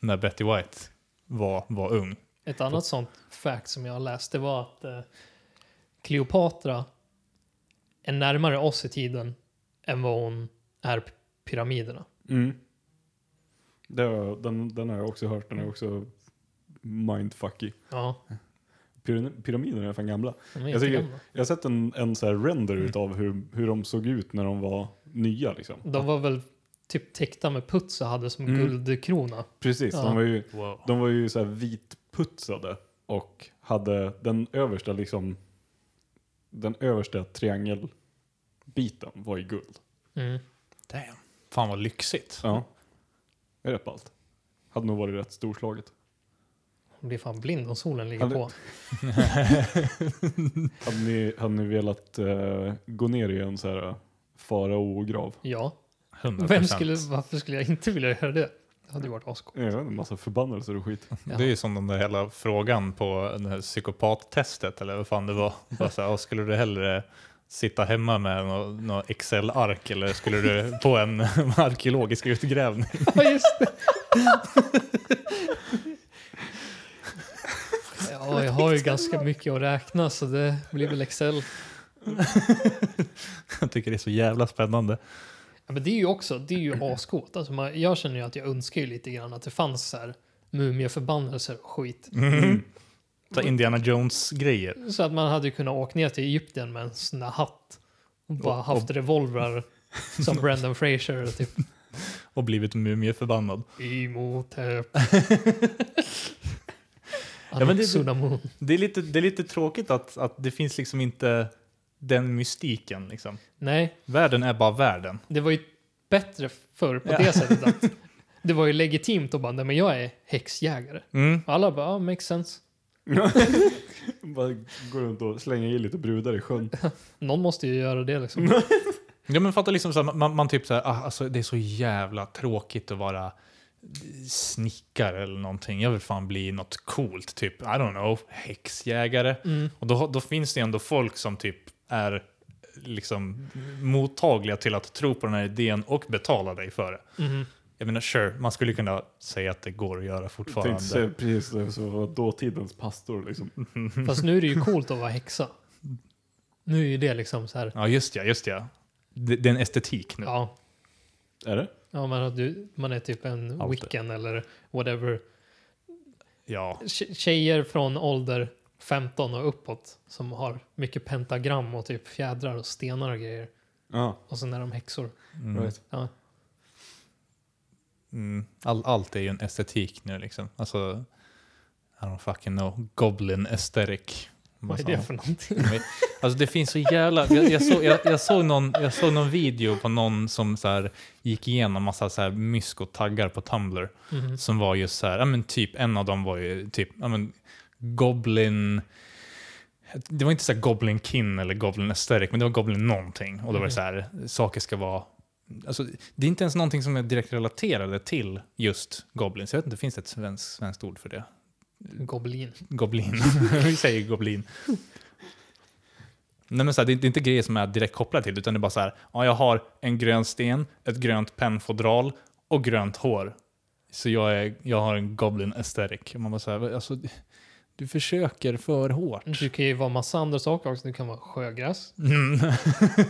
När Betty White var, var ung.
Ett annat sånt fact som jag har läst det var att eh, Kleopatra är närmare oss i tiden än vad hon är p- pyramiderna.
Det har, jag- den, den har jag också hört, den är också mindfucky.
Ja,
Pyra- Pyramiderna är fan gamla.
de är
Jag tycker-
jättegamla.
Jag har sett en, en så här render utav hur, hur de såg ut när de var nya. Liksom.
De var väl typ täckta med puts och hade som
Mm.
guldkrona.
Precis,
Ja.
de var ju,
Wow.
de var ju så här vitputsade och hade den översta liksom, den översta triangelbiten var i guld.
Mm.
Damn. Fan vad lyxigt.
Ja. Det är rätt ballt. Hade nog varit rätt storslaget.
Hon blir fan blind om solen ligger
Hade-
på.
Hade ni, hade ni velat eh, gå ner i en så här eh, farao-grav?
Ja,
100%.
Vem skulle, varför skulle jag inte vilja göra det? Det hade ju varit ascoolt.
Jag vet inte, en massa förbannelser och skit.
Det är ju som den där hela frågan på det här psykopattestet eller vad fan det var. Bara så här, "Åh, skulle du hellre sitta hemma med någon nå Excel-ark eller skulle du på en arkeologisk utgrävning?
Ja, just det. ja, jag har ju ganska mycket att räkna så det blir väl Excel.
Jag tycker det är så jävla spännande.
Ja, men det är ju också, det är ju
Mm.
ascoolt. Alltså man, jag känner ju att jag önskar ju lite grann att det fanns så här mumieförbannelser och skit.
Så här Mm. Indiana Jones-grejer.
Så att man hade ju kunnat åka ner till Egypten med en sån där hatt och bara haft revolvrar som Brendan Fraser och typ
och blivit mumieförbannad.
Imhotep.
men det-
Anaxunamun.
Det är lite, det är lite tråkigt att, att det finns liksom inte den mystiken. Liksom.
Nej,
Världen är bara världen.
det var ju bättre förr på
Ja.
det sättet att det var ju legitimt att bara, nej men jag är häxjägare.
Mm.
Och alla bara, ja, makes sense.
Bara gå runt och slänga i lite brudar i sjön.
Någon måste ju göra det liksom.
Ja, men fatta liksom så här, man, man typ så här, ah, alltså, det är så jävla tråkigt att vara snickare eller någonting. Jag vill fan bli något coolt, typ, I don't know, häxjägare.
Mm.
Och då, då finns det ändå folk som typ är liksom mottagliga till att tro på den här idén och betala dig för det.
Mhm.
Jag menar, sure, man skulle kunna säga att det går att göra
Jag tänkte
fortfarande.
säga precis det som var dåtidens pastor. Liksom.
Fast nu är det ju coolt att vara häxa. Nu är ju det liksom så här,
Ja, just ja, just ja. Det, det är en estetik nu.
ja,
Är det?
ja man, har, du, man är typ en
Allt.
wiccan eller whatever.
Ja.
Tje- Tjejer från ålder 15 och uppåt som har mycket pentagram och typ fjädrar och stenar och grejer.
Ja,
Och sen är de häxor.
Mm.
right.
Ja.
Mm. All, allt är ju en estetik nu liksom. Alltså, I don't fucking know. Goblin aesthetic.
Vad är det för någonting?
Alltså det finns så jävla... Jag, jag, såg, jag, jag, såg någon, jag såg någon video på någon som så här, gick igenom massa så här mysko-taggar på Tumblr.
Mhm.
Som var just så här, ja men typ en av dem var ju typ, ja men Goblin... Det var inte så här Goblin Kin eller Goblin Aesthetic, men det var Goblin någonting. Och då var det så här, saker ska vara... Alltså, det är inte ens någonting som är direkt relaterade till just Goblins. Jag vet inte, finns det ett svenskt, svenskt ord för det?
Goblin.
Goblin. Vi säger goblin. Nej, men så här, det, är- det är inte grejer som är direkt kopplade till det, utan det är bara så här, ja, jag har en grön sten, ett grönt pennfodral och grönt hår. Så jag, är, jag har en goblin aesthetic. Och Man bara så här, alltså, du försöker för hårt.
Du kan ju vara massa andra saker också. Du kan vara sjögräs,
Mm.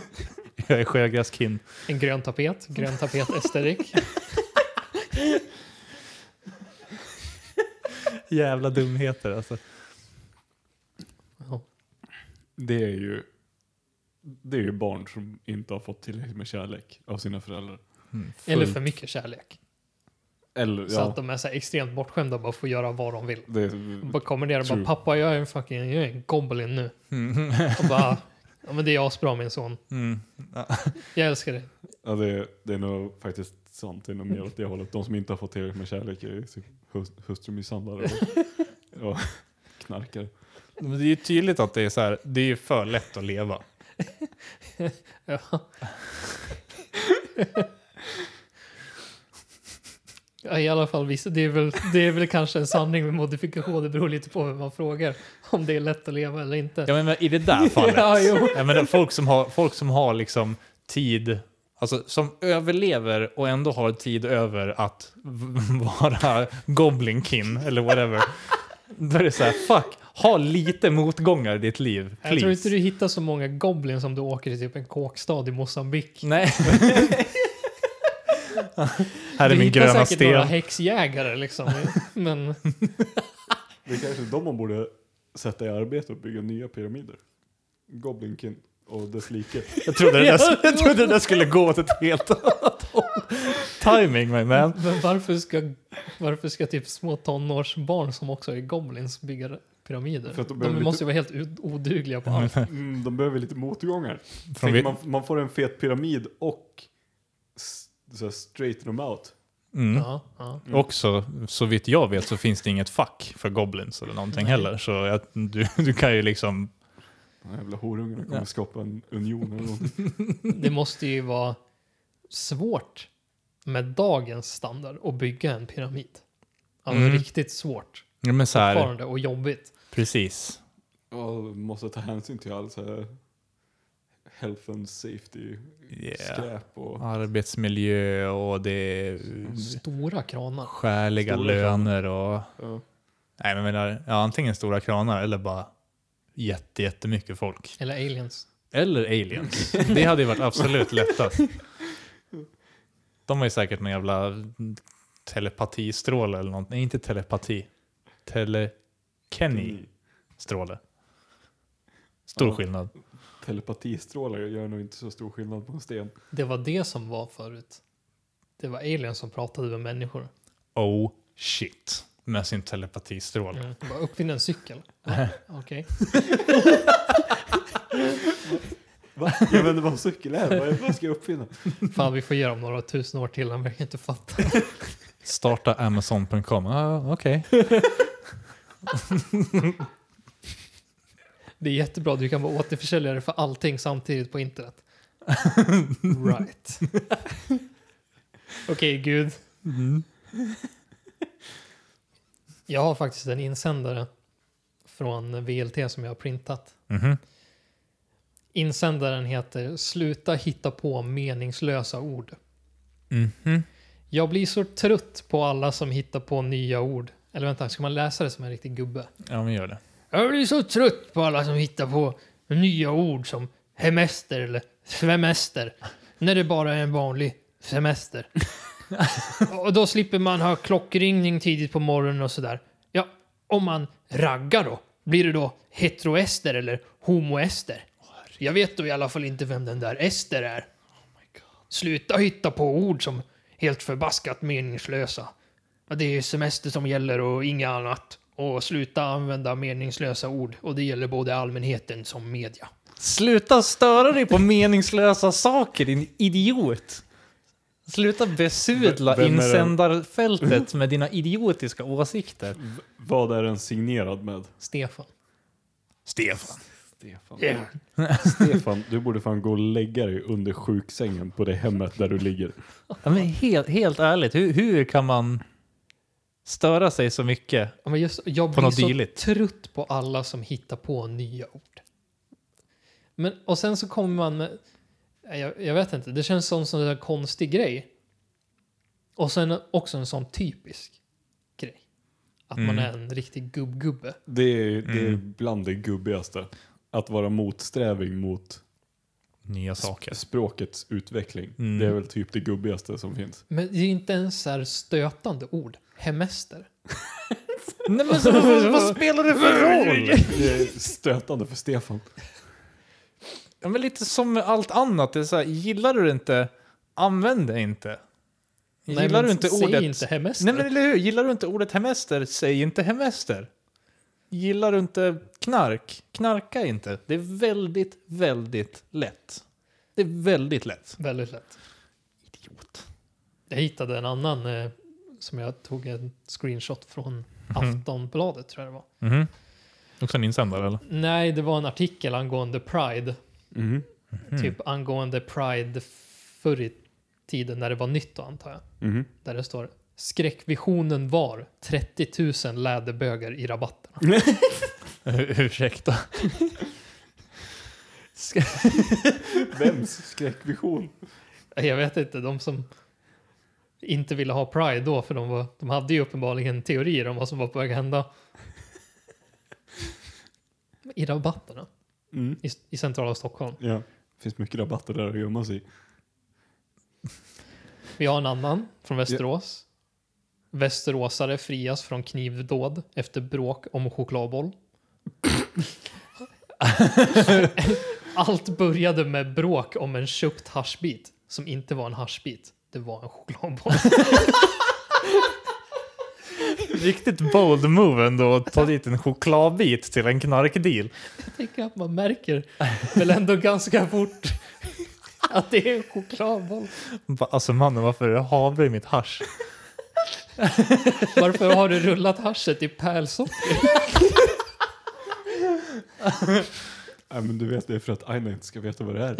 jag är sjögräskin.
en grön tapet, grön tapet esterik.
Jävla dumheter alltså.
Ja.
Det är ju det är ju barn som inte har fått tillräckligt med kärlek av sina föräldrar.
Mm,
Eller
fullt.
för mycket kärlek.
Eller,
Så att
ja,
de är så här extremt bortskämda och bara får göra vad de vill.
det är,
Bara kommer ner och bara
True.
pappa jag är en fucking jag är en goblin nu.
Mm.
Och bara ja men det är asbra min son.
Mm.
Jag älskar dig.
Ja, det, är- det är nog faktiskt sant. Det är nog mer åt det hållet. De som inte har fått tillräckligt med kärlek är typ hus- hustrumisshandlare och, och knarkare.
Men det är ju tydligt att det är så här, det är ju för lätt att leva.
Ja. ja, i alla fall vissa. Det är, väl, det är väl kanske en sanning med modifikation. Det beror lite på vem man frågar. Om det är lätt att leva eller inte.
Ja, men i det där fallet.
Ja, jo.
Ja, men det är folk, som har, folk som har liksom tid, alltså som överlever och ändå har tid över att v- vara goblinkin eller whatever. Då är det så här, fuck, ha lite motgångar i ditt liv. Please.
Jag tror inte du hittar så många goblin som du åker till typ en kåkstad i Mosambik.
Nej. Här är min gröna
säkert några
sten.
häxjägare liksom. Men
Det är kanske de man borde sätta i arbete och bygga nya pyramider. Goblinkin och dess like.
Jag trodde, det där, jag trodde det där skulle gå åt ett helt annat håll. Timing my man.
Men varför ska, varför ska typ små tonårsbarn som också är goblins bygga pyramider?
För att de
de
behöver lite-
måste ju vara helt ut- odugliga på allt.
Mm, de behöver lite motgångar.
Från
Tänk,
vi-
man, man får en fet pyramid och s- så här, straighten them out.
Mm.
Ja, ja.
Också, så vitt jag vet så finns det inget fack för goblins eller någonting
Nej.
heller. Så att du, du kan ju liksom...
De här jävla horungarna kommer
Ja.
skapa en union eller någonting.
Det måste ju vara svårt med dagens standard att bygga en pyramid. Alltså
Mm.
riktigt svårt
Ja, men så här,
fortfarande och jobbigt.
precis.
Och måste ta hänsyn till all så här health and safety
Yeah.
skräp och
Arbetsmiljö och det är
Stora kranar.
skäliga
Stora
löner och...
ja,
Nej, men jag menar, ja, antingen stora kranar eller bara jätte, jättemycket folk.
Eller aliens.
Eller aliens. Det hade ju varit absolut lättast. De har ju säkert någon jävla telepatistråle eller någonting. Nej, inte telepati. Telekenny. stråle. Stor
Ja.
skillnad.
telepatistrålar gör nog inte så stor skillnad på en sten.
Det var det som var förut. Det var aliens som pratade med människor.
Oh shit. Med sin telepatistråle.
Mm. Bara uppfinna en cykel.
Mm.
Ja, Okej.
Va? Jag vet inte vad cykel är, vad, vad ska jag uppfinna?
Fan, vi får ge dem några tusen år till. Han verkar inte fatta.
Starta Amazon.com. Ah, Okej.
Det är jättebra. Du kan vara återförsäljare för allting samtidigt på internet. right. Okej, Gud. Jag har faktiskt en insändare från VLT som jag har printat.
Mhm.
Insändaren heter “Sluta hitta på meningslösa ord”.
Mhm.
Jag blir så trött på alla som hittar på nya ord. Eller vänta, ska man läsa det som en riktig gubbe?
Ja, men gör det.
Jag blir så trött på alla som hittar på nya ord som hemester eller svemester. När det bara är en vanlig semester. och då slipper man ha klockringning tidigt på morgonen och sådär. Ja, om man raggar då, blir det då heteroester eller homoester? Jag vet då i alla fall inte vem den där ester är. Sluta hitta på ord som helt förbaskat meningslösa. Ja, Det är semester som gäller och inget annat. Och sluta använda meningslösa ord. Och det gäller både allmänheten som media.
Sluta störa dig på meningslösa saker, din idiot. Sluta
V-
besudla
vem är den?
insändarfältet med dina idiotiska åsikter.
V- vad är den signerad med?
Stefan.
Stefan.
Stefan. Stefan, du borde fan gå och lägga dig under sjuksängen på det hemmet där du ligger.
Ja, men helt, helt ärligt, hur, hur kan man störa sig så mycket?
Ja, Men just, jag
På
blir
något
så
dylikt.
trött på alla som hittar på nya ord. Men, och sen så kommer man med... Nej, Jag, jag vet inte, det känns som en sån där konstig grej. Och sen också en sån typisk grej. Att man
Mm.
är en riktig gubbgubbe.
Det är, det är bland det gubbigaste. Att vara motsträvig mot
Nya
sp-
saker.
språkets utveckling.
Mm.
Det är väl typ det gubbigaste som finns.
Men det är inte ens så här stötande ord. Hemester.
Nej, men så, vad, vad spelar det för roll?
Det är stötande för Stefan.
Ja, men lite som med allt annat. Det är så här, gillar du det inte, använd det inte.
Nej,
gillar
men
du inte
säg
ordet...
inte hemester.
Nej, men eller hur? Gillar du inte ordet hemester, säg inte hemester. Gillar du inte knark, knarka inte. Det är väldigt, väldigt lätt. Det är väldigt lätt.
Väldigt lätt.
Idiot.
Jag hittade en annan eh, som jag tog en screenshot från
Mhm.
Aftonbladet tror jag det var.
Mhm. Också en insändare eller?
Nej, det var en artikel angående Pride.
Mhm.
Mhm.
Typ angående Pride förr i tiden när det var nytt då, antar jag.
Mhm.
Där det står skräckvisionen var 30 000 läderbögar i rabatterna.
Ursäkta.
Vems skräckvision?
Jag vet inte, de som inte ville ha Pride då, för de, var, de hade ju uppenbarligen teorier om vad som var på väg att hända. I rabatterna
Mm.
i, i centrala Stockholm.
Ja. finns mycket rabatter där att gömma sig i.
Vi har en annan från Västerås. Västeråsare frias från knivdåd efter bråk om chokladboll. Allt började med bråk om en köpt haschbit som inte var en haschbit. Det var en chokladboll.
Riktigt bold move ändå att ta dit en chokladbit till en knarkdeal.
Jag tänker att man märker väl ändå ganska fort att det är en chokladboll.
Bara, Alltså mannen varför är det havre i mitt hasch?
Varför har du rullat haschet i pärlsocker?
Nej, men du vet, det är för att Aina inte ska veta vad det är.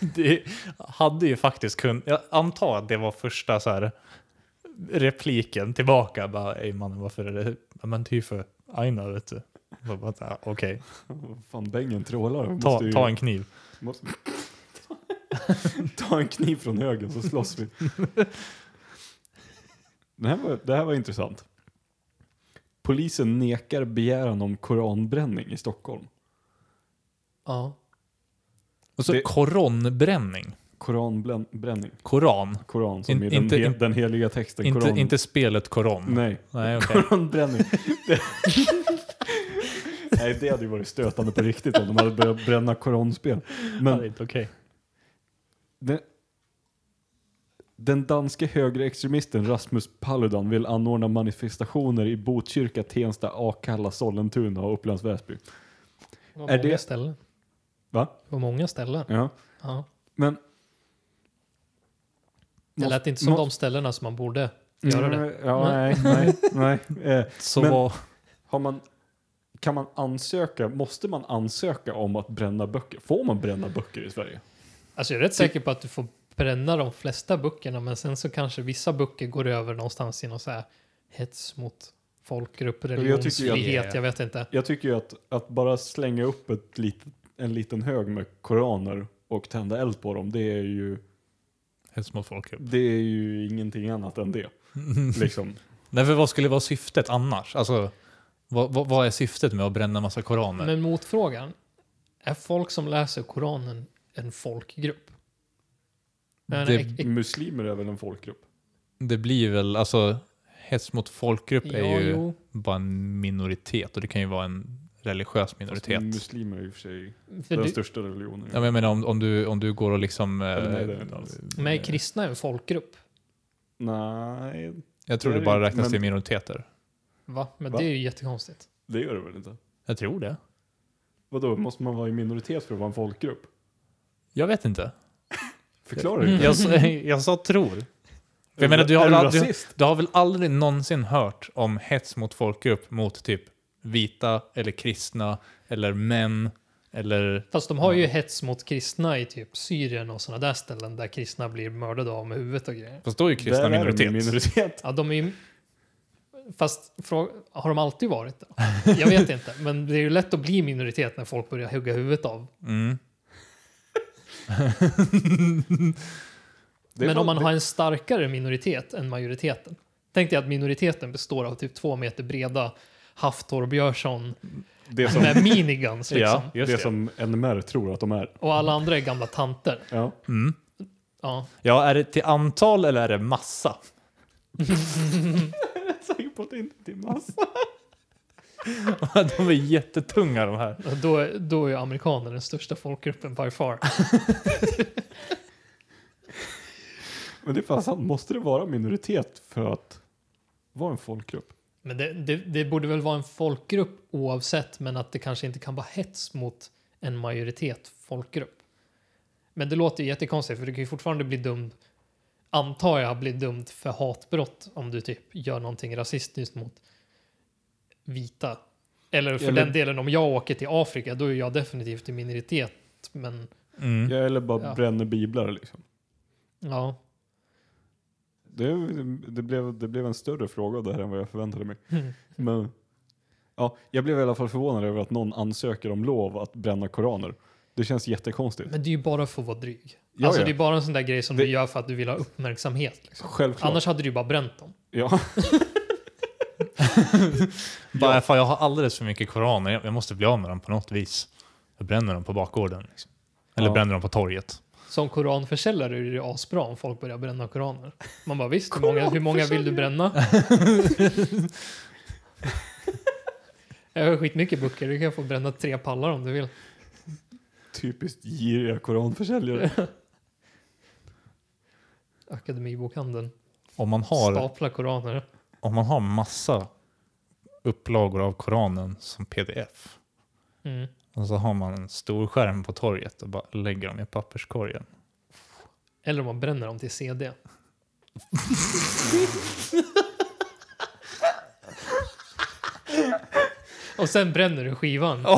Det hade ju faktiskt kunnat, jag antar att det var första så här repliken tillbaka. Bara, ej mannen varför är det, Ja, men ty för Aina vet du. Jag bara, "Ja, Okej,
Vad Fan, bängen trålar. Hon
ta,
måste ju-
ta en kniv.
Måste... Ta en kniv från högen så slåss vi. Det här, var, det här var intressant. Polisen nekar begäran om koranbränning i Stockholm.
Ja,
Och så
Det-
koronbränning.
Koranbränning.
Koran.
Koran som
In-
är den,
inte-
he,
in-
den heliga texten.
Inte,
koran.
inte spelet koron.
Nej,
Nej, okej.
koranbränning. Det... Nej, det hade ju varit stötande på riktigt om de hade börjat bränna koranspel.
Ja,
Men
det är inte okej.
Den, den danske högerextremisten Rasmus Paludan vill anordna manifestationer i Botkyrka, Tensta, Akalla, Sollentuna och Upplands Väsby.
det var
Är
många
det-
ställen.
Va?
Det var många ställen.
Ja.
Ja.
Men...
Det lät inte som de ställena som man borde
Mm.
göra det.
Ja, nej, nej, nej. Eh,
Så
Men-
vad-
har man, kan man ansöka, måste man ansöka om att bränna böcker? Får man bränna böcker i Sverige?
Alltså jag är rätt säker på att du får bränna de flesta böckerna men sen så kanske vissa böcker går över någonstans i någon så här hets mot folkgrupp,
tycker jag-
religionsfrihet, jag vet inte.
Jag tycker ju att, att bara slänga upp ett lit, en liten hög med koraner och tända eld på dem, det är ju
Hets mot folkgrupp.
Det är ju ingenting annat än det. Liksom.
Nej, för vad skulle vara syftet annars? Alltså, vad, vad, vad är syftet med att bränna massa koraner?
Men motfrågan, är folk som läser Koranen en folkgrupp? Men
Det-
ek- ek-
Muslimer är väl en folkgrupp?
Det blir väl, alltså, hets mot folkgrupp är
ja,
ju
jo,
bara en minoritet och det kan ju vara en religiös
Fast
minoritet.
muslimer är i och för sig
för
den
du,
största religionen.
Ja, men jag menar om, om, du, om du går och liksom... eh,
Eller nej, det är det inte alls.
men är kristna en folkgrupp?
Nej,
jag tror
det
det,
är
bara
det ju,
räknas
men-
till minoriteter.
Va? Men
Va?
det är ju jättekonstigt.
det gör det väl inte?
Jag tror det.
Vadå, måste man vara i minoritet för att vara en folkgrupp?
Jag vet inte.
Förklara det.
Jag, sa- jag sa tror. Jag menar, du har
Mm. är
väl
du
aldrig-
rasist?
Du har väl aldrig någonsin hört om hets mot folkgrupp mot typ vita eller kristna eller män eller...
Fast de har ju hets mot kristna i typ Syrien och sådana där ställen där kristna blir mördade av med huvudet och grejer.
Fast då är ju kristna
Där är de i
minoritet.
minoritet.
Ja, de är ju... Fast frå- har de alltid varit det? Jag vet inte, men det är ju lätt att bli minoritet när folk börjar hugga huvudet av.
Mm.
Det är
Men om
fan-
man har en starkare minoritet än majoriteten. Tänk dig att minoriteten består av typ två meter breda Haftor Björsson
det, det, som,
med miniguns liksom.
Ja,
det,
just det.
som NMR tror att de är.
Och alla andra är gamla tanter.
Ja.
Mm.
Ja.
Ja, är det till antal eller är det massa?
Jag är säker på att det inte är massa.
de är jättetunga de här.
Och Då, är- då är ju amerikaner den största folkgruppen by far.
Men det är fan sant. Måste det vara minoritet för att vara en folkgrupp?
Men det, det, det borde väl vara en folkgrupp oavsett, men att det kanske inte kan vara hets mot en majoritet folkgrupp. Men det låter ju jättekonstigt, för du kan ju fortfarande bli dum antar jag blir dömd för hatbrott om du typ gör någonting rasistiskt mot vita. Eller för
Ja, men-
den delen om jag åker till Afrika då är jag definitivt i minoritet. Men
Mm.
Ja, eller bara
Ja.
bränner biblar liksom.
ja,
Det, det, blev, det blev en större fråga av det här än vad jag förväntade mig.
Mm.
Men, ja, jag blev i alla fall förvånad över att någon ansöker om lov att bränna koraner. Det känns jättekonstigt.
men det är ju bara för att vara dryg.
Ja,
alltså
ja.
det är bara en sån där grej som
Det-
du gör för att du vill ha uppmärksamhet. Liksom.
Självklart.
Annars hade du ju bara bränt dem.
Ja.
Bara, fan, jag har alldeles för mycket koraner, jag, jag måste bli av med dem på något vis. Jag bränner dem på bakgården. Liksom. Eller
Ja.
bränner dem på torget.
Som koranförsäljare är det ju asbra om folk börjar bränna koraner. Man bara visst, hur många, hur många vill du bränna? Jag har skitmycket böcker, du kan få bränna tre pallar om du vill.
Typiskt giriga koranförsäljare.
Akademibokhandeln.
Om man har,
Stapla koraner.
om man har massa upplagor av koranen som pdf
Mm.
och så har man en stor skärm på torget och bara lägger dem i papperskorgen.
Eller om man bränner dem till CD. Och sen bränner du skivan.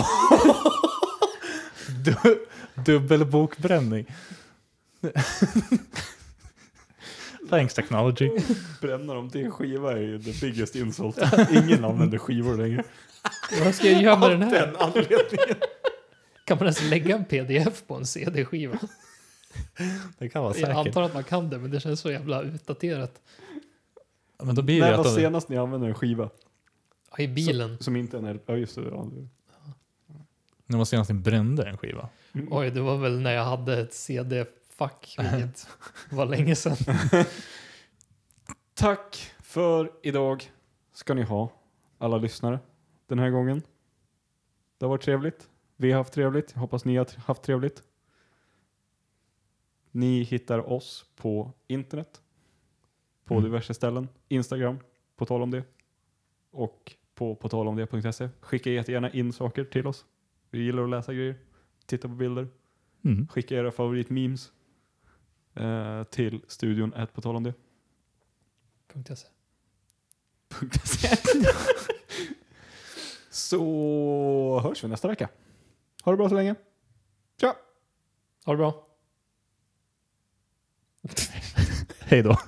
Du, dubbel bokbränning. Thanks technology.
Bränna dem till en skiva är ju the biggest insult. Ingen använder skivor längre.
Vad ska jag göra med den här?
Den anledningen.
Kan man ens lägga en pdf på en CD-skiva?
Det kan vara
Jag
säkert.
antar att man kan det, men det känns så jävla utdaterat.
Men då blir det
När
att
var
de-
senast ni använde en skiva?
Ja, I bilen.
Som inte är en... Ja, just det. Ja.
När var senast ni brände en skiva?
Mm.
Oj, det var väl när jag hade ett CD-fack, vilket var länge sedan.
Tack för idag ska ni ha, alla lyssnare, den här gången. Det har varit trevligt. Vi har haft trevligt. Jag hoppas ni har haft trevligt. Ni hittar oss på internet, på
Mm.
diverse ställen, Instagram, på tal om det, och på på tal om det.se. E. Skicka jättegärna in saker till oss. Vi gillar att läsa grejer, titta på bilder.
Mm.
Skicka era favoritmemes eh, till studion at på tal om det.
Punkt .se.
Så hörs vi nästa vecka. Ha det bra så länge. Tja!
Ha det bra.
Hej då.